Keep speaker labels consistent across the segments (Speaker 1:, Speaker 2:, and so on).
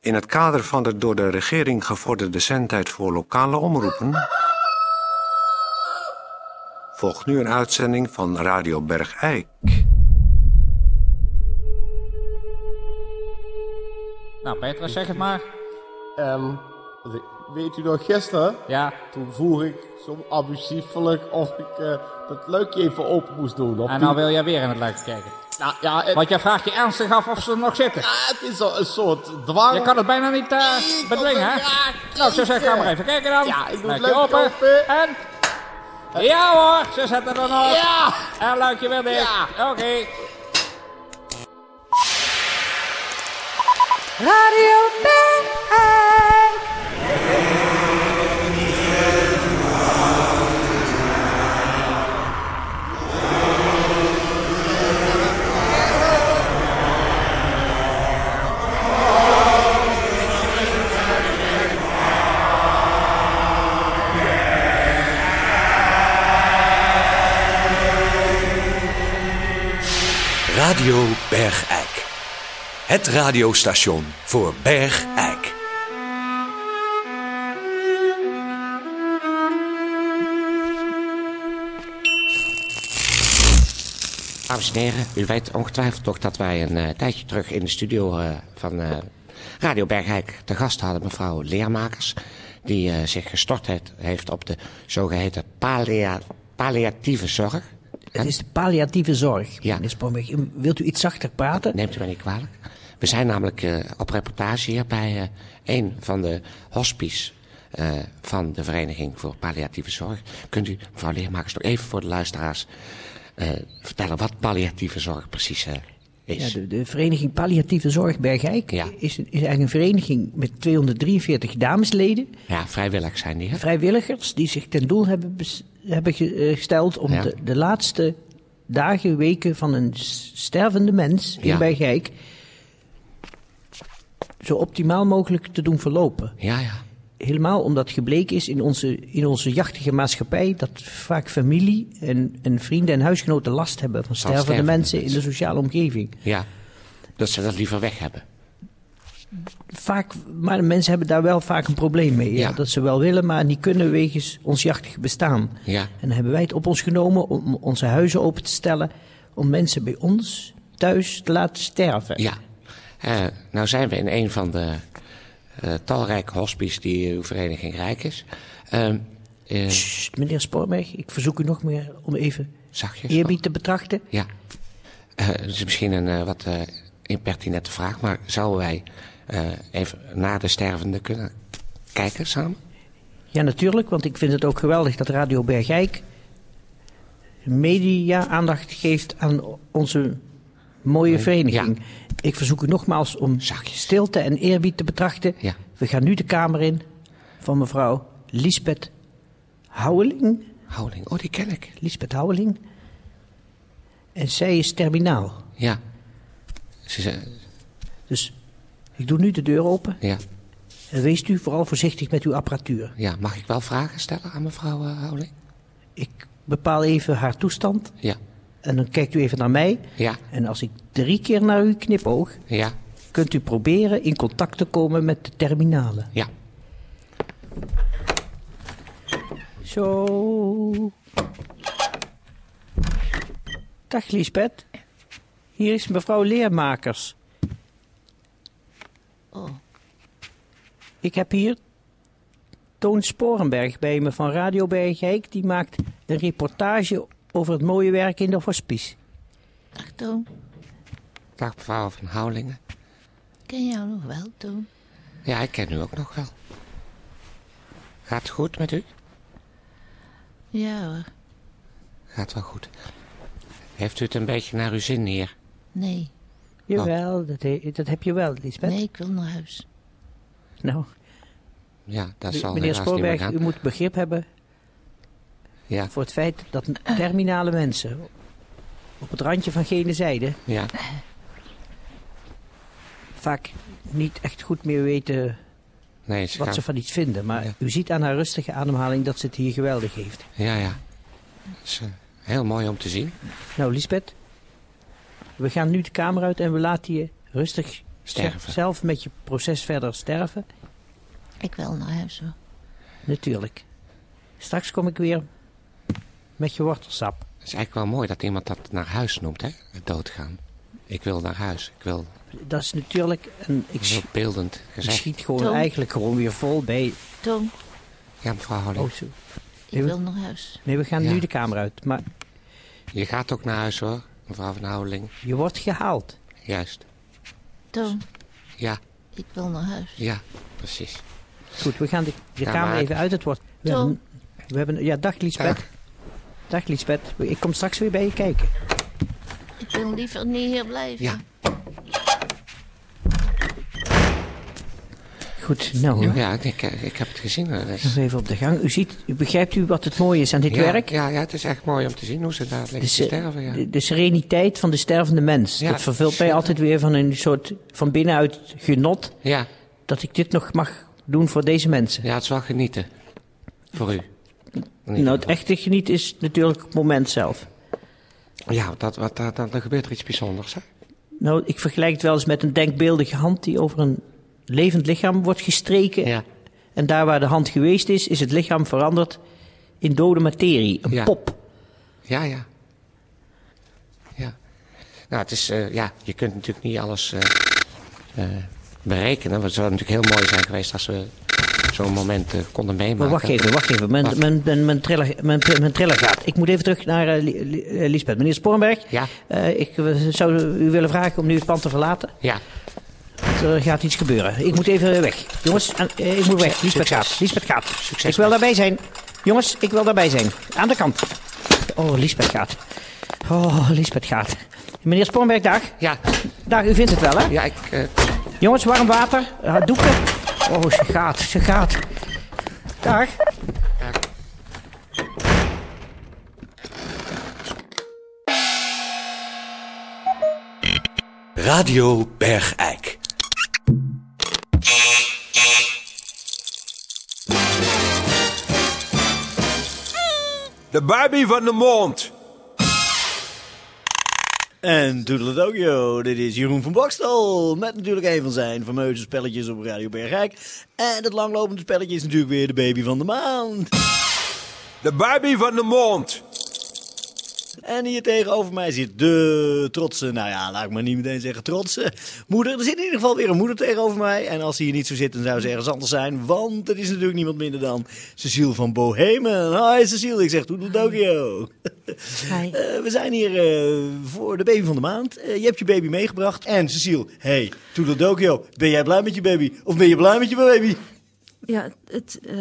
Speaker 1: In het kader van de door de regering gevorderde zendtijd voor lokale omroepen. volgt nu een uitzending van Radio Bergijk.
Speaker 2: Nou, Petra, zeg het maar.
Speaker 3: En we- Ehm, weet u nog gisteren?
Speaker 2: Ja,
Speaker 3: Toen vroeg ik zo abusiefelijk of ik eh, dat luikje even open moest doen. Of
Speaker 2: en
Speaker 3: die-
Speaker 2: nou wil jij weer in het luik kijken.
Speaker 3: Nou ja, het,
Speaker 2: Want jij vraagt je ernstig af of ze er nog zitten.
Speaker 3: ja, het is al een soort dwang.
Speaker 2: Je kan het bijna niet eh,
Speaker 3: Ik
Speaker 2: bedwingen, hè?
Speaker 3: kan het- ja,
Speaker 2: Nou, ik zou zeggen, ga
Speaker 3: kijken.
Speaker 2: maar even kijken dan.
Speaker 3: Ja, ik doe het
Speaker 2: Maak je
Speaker 3: luikje open.
Speaker 2: En... Ja hoor, ze zetten er nog.
Speaker 3: Ja!
Speaker 2: En luikje weer dicht.
Speaker 3: Ja.
Speaker 2: Oké.
Speaker 4: Radio Bergijk.
Speaker 5: Radio Bergijk. Het radiostation voor Bergijk.
Speaker 6: Dames en heren, u weet ongetwijfeld toch dat wij een eh, tijdje terug in de studio eh, van eh, Radio Bergijk te gast hadden mevrouw Leermakers. Die eh, zich gestort heeft, heeft op de zogeheten pallia- palliatieve zorg.
Speaker 7: Het is de palliatieve zorg.
Speaker 6: Ja.
Speaker 7: meneer Spoorweg. wilt u iets zachter praten?
Speaker 6: Neemt u mij niet kwalijk. We zijn namelijk eh, op reportage hier bij eh, een van de hospice eh, van de Vereniging voor Palliatieve Zorg. Kunt u, mevrouw Leermakers, nog even voor de luisteraars eh, vertellen wat palliatieve zorg precies eh, is?
Speaker 7: Ja, de, de vereniging Palliatieve Zorg Bergijk
Speaker 6: Ja.
Speaker 7: is, is eigenlijk een vereniging met 243 damesleden,
Speaker 6: Ja, vrijwillig zijn die, hè?
Speaker 7: vrijwilligers, die zich ten doel hebben, bes- hebben ge- eh, gesteld om
Speaker 6: Ja.
Speaker 7: de, de laatste dagen, weken van een s- stervende mens in
Speaker 6: Ja.
Speaker 7: Bergijk zo optimaal mogelijk te doen verlopen.
Speaker 6: Ja, ja.
Speaker 7: Helemaal omdat gebleken is in onze, in onze jachtige maatschappij dat vaak familie en, en vrienden en huisgenoten last hebben van stervende,
Speaker 6: stervende
Speaker 7: mensen in de sociale omgeving.
Speaker 6: Ja. Dat ze dat liever weg hebben.
Speaker 7: Vaak, maar de mensen hebben daar wel vaak een probleem mee. Ja.
Speaker 6: Ja.
Speaker 7: Dat ze wel willen, maar niet kunnen wegens ons jachtig bestaan.
Speaker 6: Ja.
Speaker 7: En dan hebben wij het op ons genomen om onze huizen open te stellen om mensen bij ons thuis te laten sterven.
Speaker 6: Ja. Eh, nou zijn we in een van de eh, talrijke hospices die uw vereniging rijk is. Ehm eh,
Speaker 7: Sst, meneer Spoorberg, ik verzoek u nog meer om even
Speaker 6: Zachtjes.
Speaker 7: eerbied te betrachten.
Speaker 6: Ja. Eh, Het is misschien een eh, wat eh, impertinente vraag, maar zouden wij eh, even naar de stervende kunnen kijken samen?
Speaker 7: Ja, natuurlijk, want ik vind het ook geweldig dat Radio Bergijk media aandacht geeft aan onze mooie vereniging.
Speaker 6: ja.
Speaker 7: Ik verzoek u nogmaals om
Speaker 6: Zachtjes.
Speaker 7: stilte en eerbied te betrachten.
Speaker 6: Ja.
Speaker 7: We gaan nu de kamer in van mevrouw Lisbeth Houweling.
Speaker 6: Houding. Oh, die ken ik.
Speaker 7: Lisbeth Houweling. En zij is terminaal.
Speaker 6: Ja. Ze is, eh,
Speaker 7: Dus ik doe nu de deur open.
Speaker 6: ja.
Speaker 7: En wees u vooral voorzichtig met uw apparatuur.
Speaker 6: ja. Mag ik wel vragen stellen aan mevrouw eh, Houding?
Speaker 7: Ik bepaal even haar toestand.
Speaker 6: Ja.
Speaker 7: En dan kijkt u even naar mij.
Speaker 6: Ja.
Speaker 7: En als ik drie keer naar u knipoog,
Speaker 6: Ja.
Speaker 7: kunt u proberen in contact te komen met de terminalen.
Speaker 6: Ja.
Speaker 7: Zo. Dag Liesbeth. Hier is mevrouw Leermakers. Ik heb hier Toon Sporenberg bij me van Radio Bergijk. Die maakt een reportage over het mooie werk in de hospice.
Speaker 8: Dag Toon,
Speaker 6: Dag mevrouw van Houdingen.
Speaker 8: ik ken jou nog wel, Toon.
Speaker 6: Ja, ik ken u ook nog wel. Gaat het goed met u?
Speaker 8: Ja hoor,
Speaker 6: Gaat wel goed. Heeft u het een beetje naar uw zin hier?
Speaker 8: nee,
Speaker 7: Jawel, dat, he- dat heb je wel, Lisbeth.
Speaker 8: nee, ik wil naar huis.
Speaker 7: Nou,
Speaker 6: Ja, dat zal
Speaker 7: meneer
Speaker 6: helaas niet meer
Speaker 7: Spoorberg, u
Speaker 6: gaan.
Speaker 7: moet begrip hebben
Speaker 6: Ja,
Speaker 7: voor het feit dat terminale mensen op het randje van gene zijde
Speaker 6: ja,
Speaker 7: vaak niet echt goed meer weten
Speaker 6: nee, ze
Speaker 7: wat
Speaker 6: gaan-
Speaker 7: ze van iets vinden. Maar
Speaker 6: Ja.
Speaker 7: u ziet aan haar rustige ademhaling dat ze het hier geweldig heeft.
Speaker 6: Ja, ja. Dat is eh, heel mooi om te zien.
Speaker 7: Nou, Lisbeth, we gaan nu de kamer uit en we laten je rustig
Speaker 6: Sterven.
Speaker 7: zelf met je proces verder sterven?
Speaker 8: Ik wil naar huis hoor.
Speaker 7: Natuurlijk. Straks kom ik weer met je wortelsap.
Speaker 6: Het is eigenlijk wel mooi dat iemand dat naar huis noemt, hè? Het doodgaan. Ik wil naar huis. Ik wil
Speaker 7: Dat is natuurlijk een... Ik,
Speaker 6: heel
Speaker 7: sch-
Speaker 6: beeldend
Speaker 7: ik
Speaker 6: gezegd.
Speaker 7: schiet gewoon
Speaker 8: Tom.
Speaker 7: eigenlijk gewoon weer vol bij...
Speaker 8: Toon,
Speaker 6: Ja, mevrouw Holling.
Speaker 7: Oh, zo.
Speaker 8: ik wil naar huis.
Speaker 7: Nee, we gaan
Speaker 6: Ja.
Speaker 7: nu de kamer uit. Maar
Speaker 6: Je gaat ook naar huis, hoor. Mevrouw van Houweling.
Speaker 7: je wordt gehaald.
Speaker 6: Juist.
Speaker 8: Toon,
Speaker 6: Ja,
Speaker 8: ik wil naar huis.
Speaker 6: ja, precies.
Speaker 7: Goed, we gaan de, de
Speaker 6: Ja,
Speaker 7: kamer
Speaker 6: maar-
Speaker 7: even uit. Het wordt... We
Speaker 8: Tom.
Speaker 7: hebben, we hebben... Ja, dag Liesbeth.
Speaker 6: Dag.
Speaker 7: Dag Liesbeth. Ik kom straks weer bij je kijken.
Speaker 8: Ik wil liever niet hier blijven.
Speaker 6: Ja.
Speaker 7: Goed, nou...
Speaker 6: Ja,
Speaker 7: hoor.
Speaker 6: ik, eh, ik heb het gezien. hoor. Dat is-
Speaker 7: Nog even op de gang. U ziet, u begrijpt u wat het mooie is aan dit
Speaker 6: ja,
Speaker 7: werk?
Speaker 6: Ja, ja, het Dus, eh, is echt mooi om te zien hoe ze daar liggen
Speaker 7: De,
Speaker 6: te
Speaker 7: se-
Speaker 6: sterven. Ja.
Speaker 7: de, de sereniteit van de stervende mens.
Speaker 6: Ja,
Speaker 7: dat vervult mij
Speaker 6: zeker.
Speaker 7: altijd weer van een soort van binnenuit genot.
Speaker 6: ja,
Speaker 7: Dat ik dit nog mag doen voor deze mensen.
Speaker 6: ja, het is wel genieten. Voor u. In ieder
Speaker 7: nou, het
Speaker 6: geval.
Speaker 7: echte geniet is natuurlijk het moment zelf.
Speaker 6: Ja, dat, wat, dat, dat- dan gebeurt er iets bijzonders. Hè?
Speaker 7: Nou, ik vergelijk het wel eens met een denkbeeldige hand die over een levend lichaam wordt gestreken.
Speaker 6: Ja.
Speaker 7: En daar waar de hand geweest is, is het lichaam veranderd in dode materie. Een
Speaker 6: Ja.
Speaker 7: pop.
Speaker 6: Ja, ja. Ja. Nou, het is, eh, ja, je kunt natuurlijk niet alles eh, eh, berekenen. Want het zou natuurlijk heel mooi zijn geweest als we zo'n moment eh, konden meemaken.
Speaker 7: Maar wacht even, wacht even. Mijn,
Speaker 6: Wat?
Speaker 7: mijn, mijn, mijn, triller, mijn, mijn triller gaat. Ik moet even terug naar eh, Li- Li- eh, Lisbeth. Meneer Sporenberg,
Speaker 6: Ja.
Speaker 7: eh, ik eh, zou u willen vragen om nu het pand te verlaten.
Speaker 6: Ja,
Speaker 7: Want Er eh, gaat iets gebeuren. Ik moet even eh, weg. Jongens, aan- eh, ik moet weg. Lisbeth
Speaker 6: Succes.
Speaker 7: gaat. Lisbeth gaat.
Speaker 6: Succes.
Speaker 7: Ik wil daarbij zijn. Jongens, ik wil daarbij zijn. Aan de kant. Oh, Lisbeth gaat. Oh, Lisbeth gaat. Meneer Sporenberg, dag.
Speaker 6: ja,
Speaker 7: Dag, u vindt het wel, hè?
Speaker 6: ja, ik, eh,
Speaker 7: Jongens, warm water. eh, doeken. Oh, ze gaat. Ze gaat. Dag.
Speaker 5: Radio Bergijk.
Speaker 9: De Barbie van de Mond.
Speaker 10: En Toedeledokio, dit is Jeroen van Bokstel. Met natuurlijk een van zijn fameuze spelletjes op Radio Bergrijk. En het langlopende spelletje is natuurlijk weer de baby van de maand.
Speaker 9: De Barbie van de Mond.
Speaker 10: En hier tegenover mij zit de trotse, nou ja, laat ik maar niet meteen zeggen trotse moeder. Er zit in ieder geval weer een moeder tegenover mij. En als ze hier niet zo zit, dan zou ze ergens anders zijn. Want het is natuurlijk niemand minder dan Cecile van Bohemen. Hi Cecile, ik zeg Toedeledokio.
Speaker 8: Hi.
Speaker 10: Eh, we zijn hier eh, voor de baby van de maand. Eh, je hebt je baby meegebracht. En Cecile, hey, Toedeledokio, ben jij blij met je baby? Of ben je blij met je baby?
Speaker 11: Ja, het eh,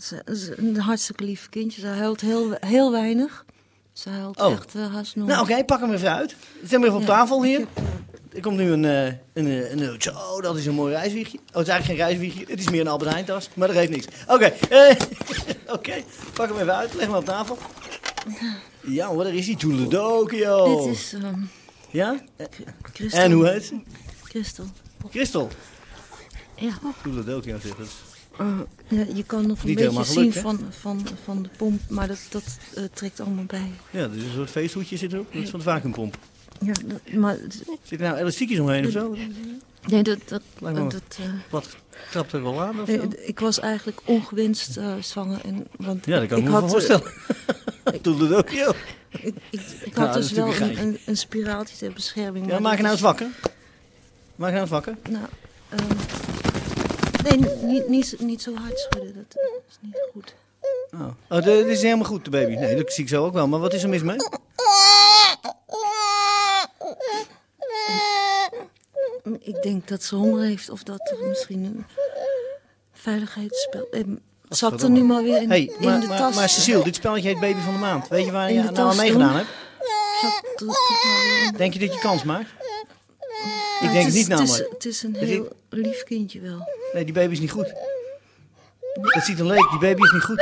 Speaker 11: ze- ze- een hartstikke lief kindje. Ze huilt heel, we- heel weinig. Ze huilt
Speaker 10: Oh.
Speaker 11: echt eh, haast nooit.
Speaker 10: Nou oké, pak hem even uit. Zet hem even op
Speaker 11: Ja,
Speaker 10: tafel hier.
Speaker 11: ik heb, eh,
Speaker 10: Er komt nu een, eh, een, eh, een, eh, Zo, dat is een mooi reiswiegje. Oh, het is eigenlijk geen reiswiegje. Het is meer een Albert Heijn tas. Maar dat geeft niks. Oké, eh, oké. Pak hem even uit. Leg hem op tafel. Ja hoor, daar is hij. Toedeledokio.
Speaker 11: Dit is ehm,
Speaker 10: Ja? Oh. Eh,
Speaker 11: Christel.
Speaker 10: En hoe heet ze?
Speaker 11: Christel.
Speaker 10: Christel.
Speaker 11: Ja.
Speaker 10: Toedeledokio zegt het.
Speaker 11: eh, ja, je kan nog een
Speaker 10: Oh. Niet helemaal
Speaker 11: beetje zien
Speaker 10: gelukt, hè?
Speaker 11: van, van, van de pomp, maar dat, dat eh, trekt allemaal bij.
Speaker 10: Ja, dus een soort feesthoedje zit erop. Dat is van de vacuumpomp.
Speaker 11: Ja, dat- maar
Speaker 10: Zit er nou elastiekjes omheen of zo?
Speaker 11: nee, dat, dat,
Speaker 10: Lijkt me wel.
Speaker 11: dat, eh,
Speaker 10: Wat trapt er wel aan of
Speaker 11: nee,
Speaker 10: zo?
Speaker 11: d- ik was eigenlijk ongewenst eh, zwanger. En, want
Speaker 10: Ja, dat kan ik me
Speaker 11: had,
Speaker 10: wel
Speaker 11: eh,
Speaker 10: voorstellen. Toedeledokio.
Speaker 11: Ik, ik, ik
Speaker 10: Nou,
Speaker 11: had
Speaker 10: dat
Speaker 11: dus
Speaker 10: is natuurlijk
Speaker 11: wel
Speaker 10: een
Speaker 11: een,
Speaker 10: geintje.
Speaker 11: een, een spiraaltje ter bescherming.
Speaker 10: Ja,
Speaker 11: maar
Speaker 10: maak je
Speaker 11: dat
Speaker 10: nou
Speaker 11: is-
Speaker 10: eens wakker. Maak je nou eens wakker.
Speaker 11: Nou, ehm, nee, niet, niet, zo- niet zo hard schudden. Dat is niet goed.
Speaker 10: Oh, oh dit is helemaal goed, de baby. Nee, dat zie ik zo ook wel. Maar wat is er mis mee?
Speaker 11: Mm, Ik denk dat ze honger heeft of dat er misschien een veiligheidsspel... Eh, het zat er nu maar weer in,
Speaker 10: hey, maar,
Speaker 11: in de
Speaker 10: maar,
Speaker 11: tas.
Speaker 10: maar Cecile, dit spelletje heet Baby van de Maand. Weet je waar
Speaker 11: In
Speaker 10: je
Speaker 11: de
Speaker 10: nou aan
Speaker 11: tas
Speaker 10: meegedaan
Speaker 11: doen.
Speaker 10: hebt?
Speaker 11: Zat er toch maar weer in.
Speaker 10: Denk je dat je kans maakt?
Speaker 11: Maar
Speaker 10: Ik denk het
Speaker 11: is-
Speaker 10: niet namelijk.
Speaker 11: is, het is een
Speaker 10: is-
Speaker 11: heel lief kindje wel.
Speaker 10: Nee, die baby is niet goed. Dat ziet een leek, die baby is niet goed.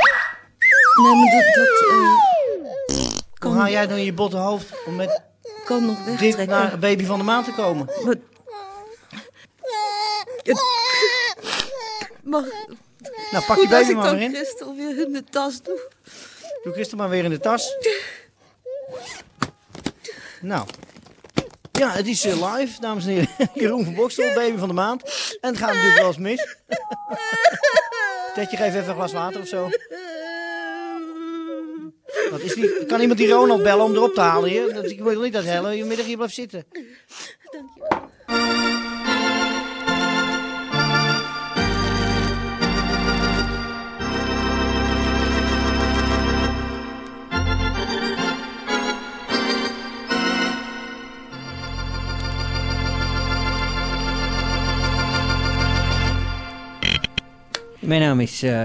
Speaker 11: Nee, maar dat, dat eh,
Speaker 10: Hoe haal jij dan je botte hoofd om met
Speaker 11: kan nog
Speaker 10: dit
Speaker 11: wegtrekken.
Speaker 10: naar Baby van de Maand te komen?
Speaker 11: Maar- Mag,
Speaker 10: Nou, pak die
Speaker 11: goed, als
Speaker 10: baby
Speaker 11: ik
Speaker 10: maar
Speaker 11: dan
Speaker 10: weer in.
Speaker 11: Christel weer in de tas doe.
Speaker 10: Doe Christel maar weer in de tas. Nou,
Speaker 12: Ja, het is eh, live, dames en heren. Jeroen van Bokstel, baby van de maand. En het gaat natuurlijk wel eens mis. Tetje, geef even een glas water of zo. Wat is die? Kan iemand die Ronald bellen om erop te halen hier? Dat- Ik wil niet dat hele middag hier blijft zitten.
Speaker 7: Mijn naam is eh,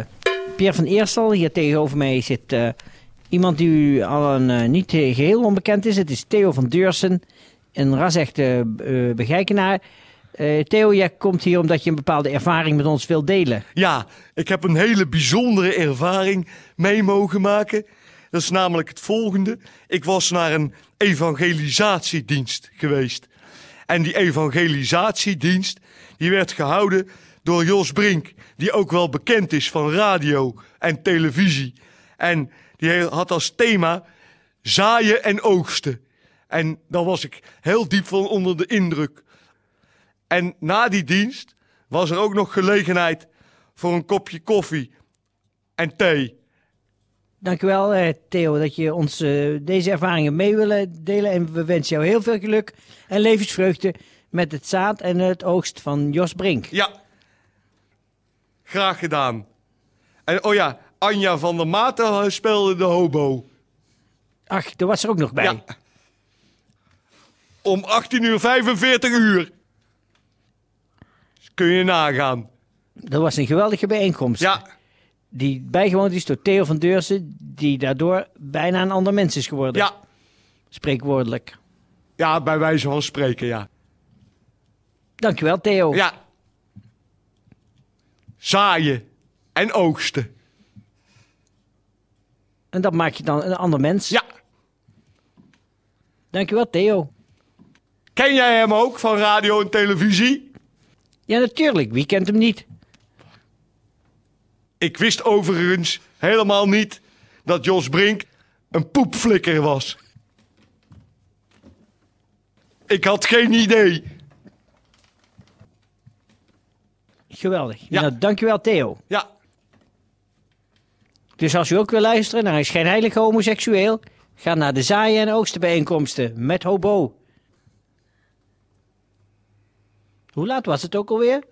Speaker 7: Pierre van Eerstel. Hier tegenover mij zit eh, iemand die u al een, eh, niet eh, geheel onbekend is. Het is Theo van Deursen, een rasechte eh begrijkenaar. Eh, Theo, jij komt hier omdat je een bepaalde ervaring met ons wilt delen.
Speaker 10: Ja, ik heb een hele bijzondere ervaring mee mogen maken. Dat is namelijk het volgende. Ik was naar een evangelisatiedienst geweest. En die evangelisatiedienst die werd gehouden door Jos Brink, die ook wel bekend is van radio en televisie. En die he- had als thema zaaien en oogsten. En daar was ik heel diep van onder de indruk. En na die dienst was er ook nog gelegenheid voor een kopje koffie en thee.
Speaker 7: Dankjewel eh, Theo dat je ons eh, deze ervaringen mee willen delen. En we wensen jou heel veel geluk en levensvreugde met het zaad en het oogst van Jos Brink.
Speaker 10: Ja, graag gedaan. En oh ja, Anja van der Maten speelde de hobo.
Speaker 7: Ach, daar was er ook nog bij.
Speaker 10: Om 18 uur 45 uur. Kun je nagaan.
Speaker 7: Dat was een geweldige bijeenkomst.
Speaker 10: Ja.
Speaker 7: Die bijgewoond is door Theo van Deursen, die daardoor bijna een ander mens is geworden.
Speaker 10: Ja.
Speaker 7: Spreekwoordelijk.
Speaker 10: Ja, bij wijze van spreken, ja.
Speaker 7: Dankjewel, Theo.
Speaker 10: Ja. Zaaien en oogsten.
Speaker 7: En dat maakt je dan een ander mens. Ja. Dankjewel, Theo.
Speaker 10: Ken jij hem ook van radio en televisie?
Speaker 7: Ja, natuurlijk. Wie kent hem niet?
Speaker 10: Ik wist overigens helemaal niet dat Jos Brink een poepflikker was. Ik had geen idee.
Speaker 7: Geweldig. Nou, dankjewel, Theo.
Speaker 10: Ja.
Speaker 7: Dus als u ook wil luisteren naar een schijnheilig homoseksueel, ga naar de zaaien- en oogstenbijeenkomsten met Hobo. Hoe laat was het ook alweer?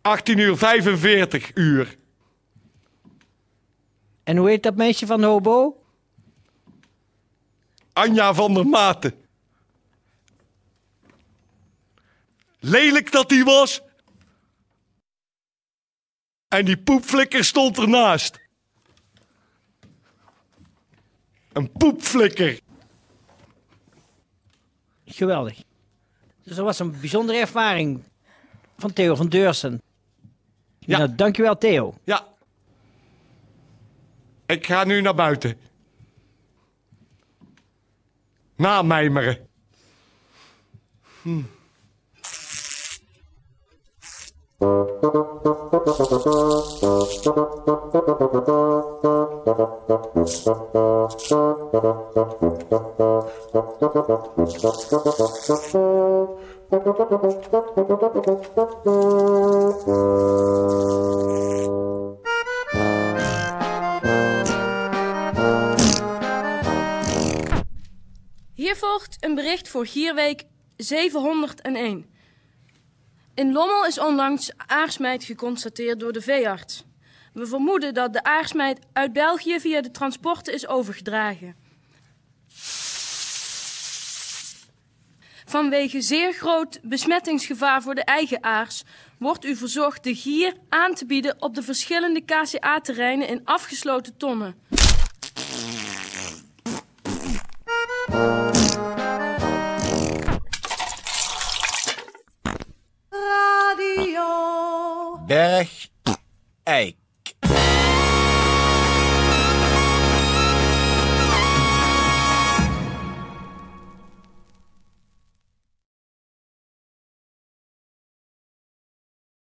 Speaker 10: 18 uur 45 uur.
Speaker 7: En hoe heet dat meisje van de Hobo?
Speaker 10: Anja van der Maten. Lelijk dat hij was. En die poepflikker stond ernaast. Een poepflikker.
Speaker 7: Geweldig. Dus dat was een bijzondere ervaring van Theo van Deursen. Ja. Nou, dankjewel Theo.
Speaker 10: Ja. Ik ga nu naar buiten. Namijmeren. Hm.
Speaker 11: Hier volgt een bericht voor Gierweek 701. In Lommel is onlangs aarsmeid geconstateerd door de veearts. We vermoeden dat de aarsmeid uit België via de transporten is overgedragen. Vanwege zeer groot besmettingsgevaar voor de eigen aars wordt u verzocht de gier aan te bieden op de verschillende KCA-terreinen in afgesloten tonnen.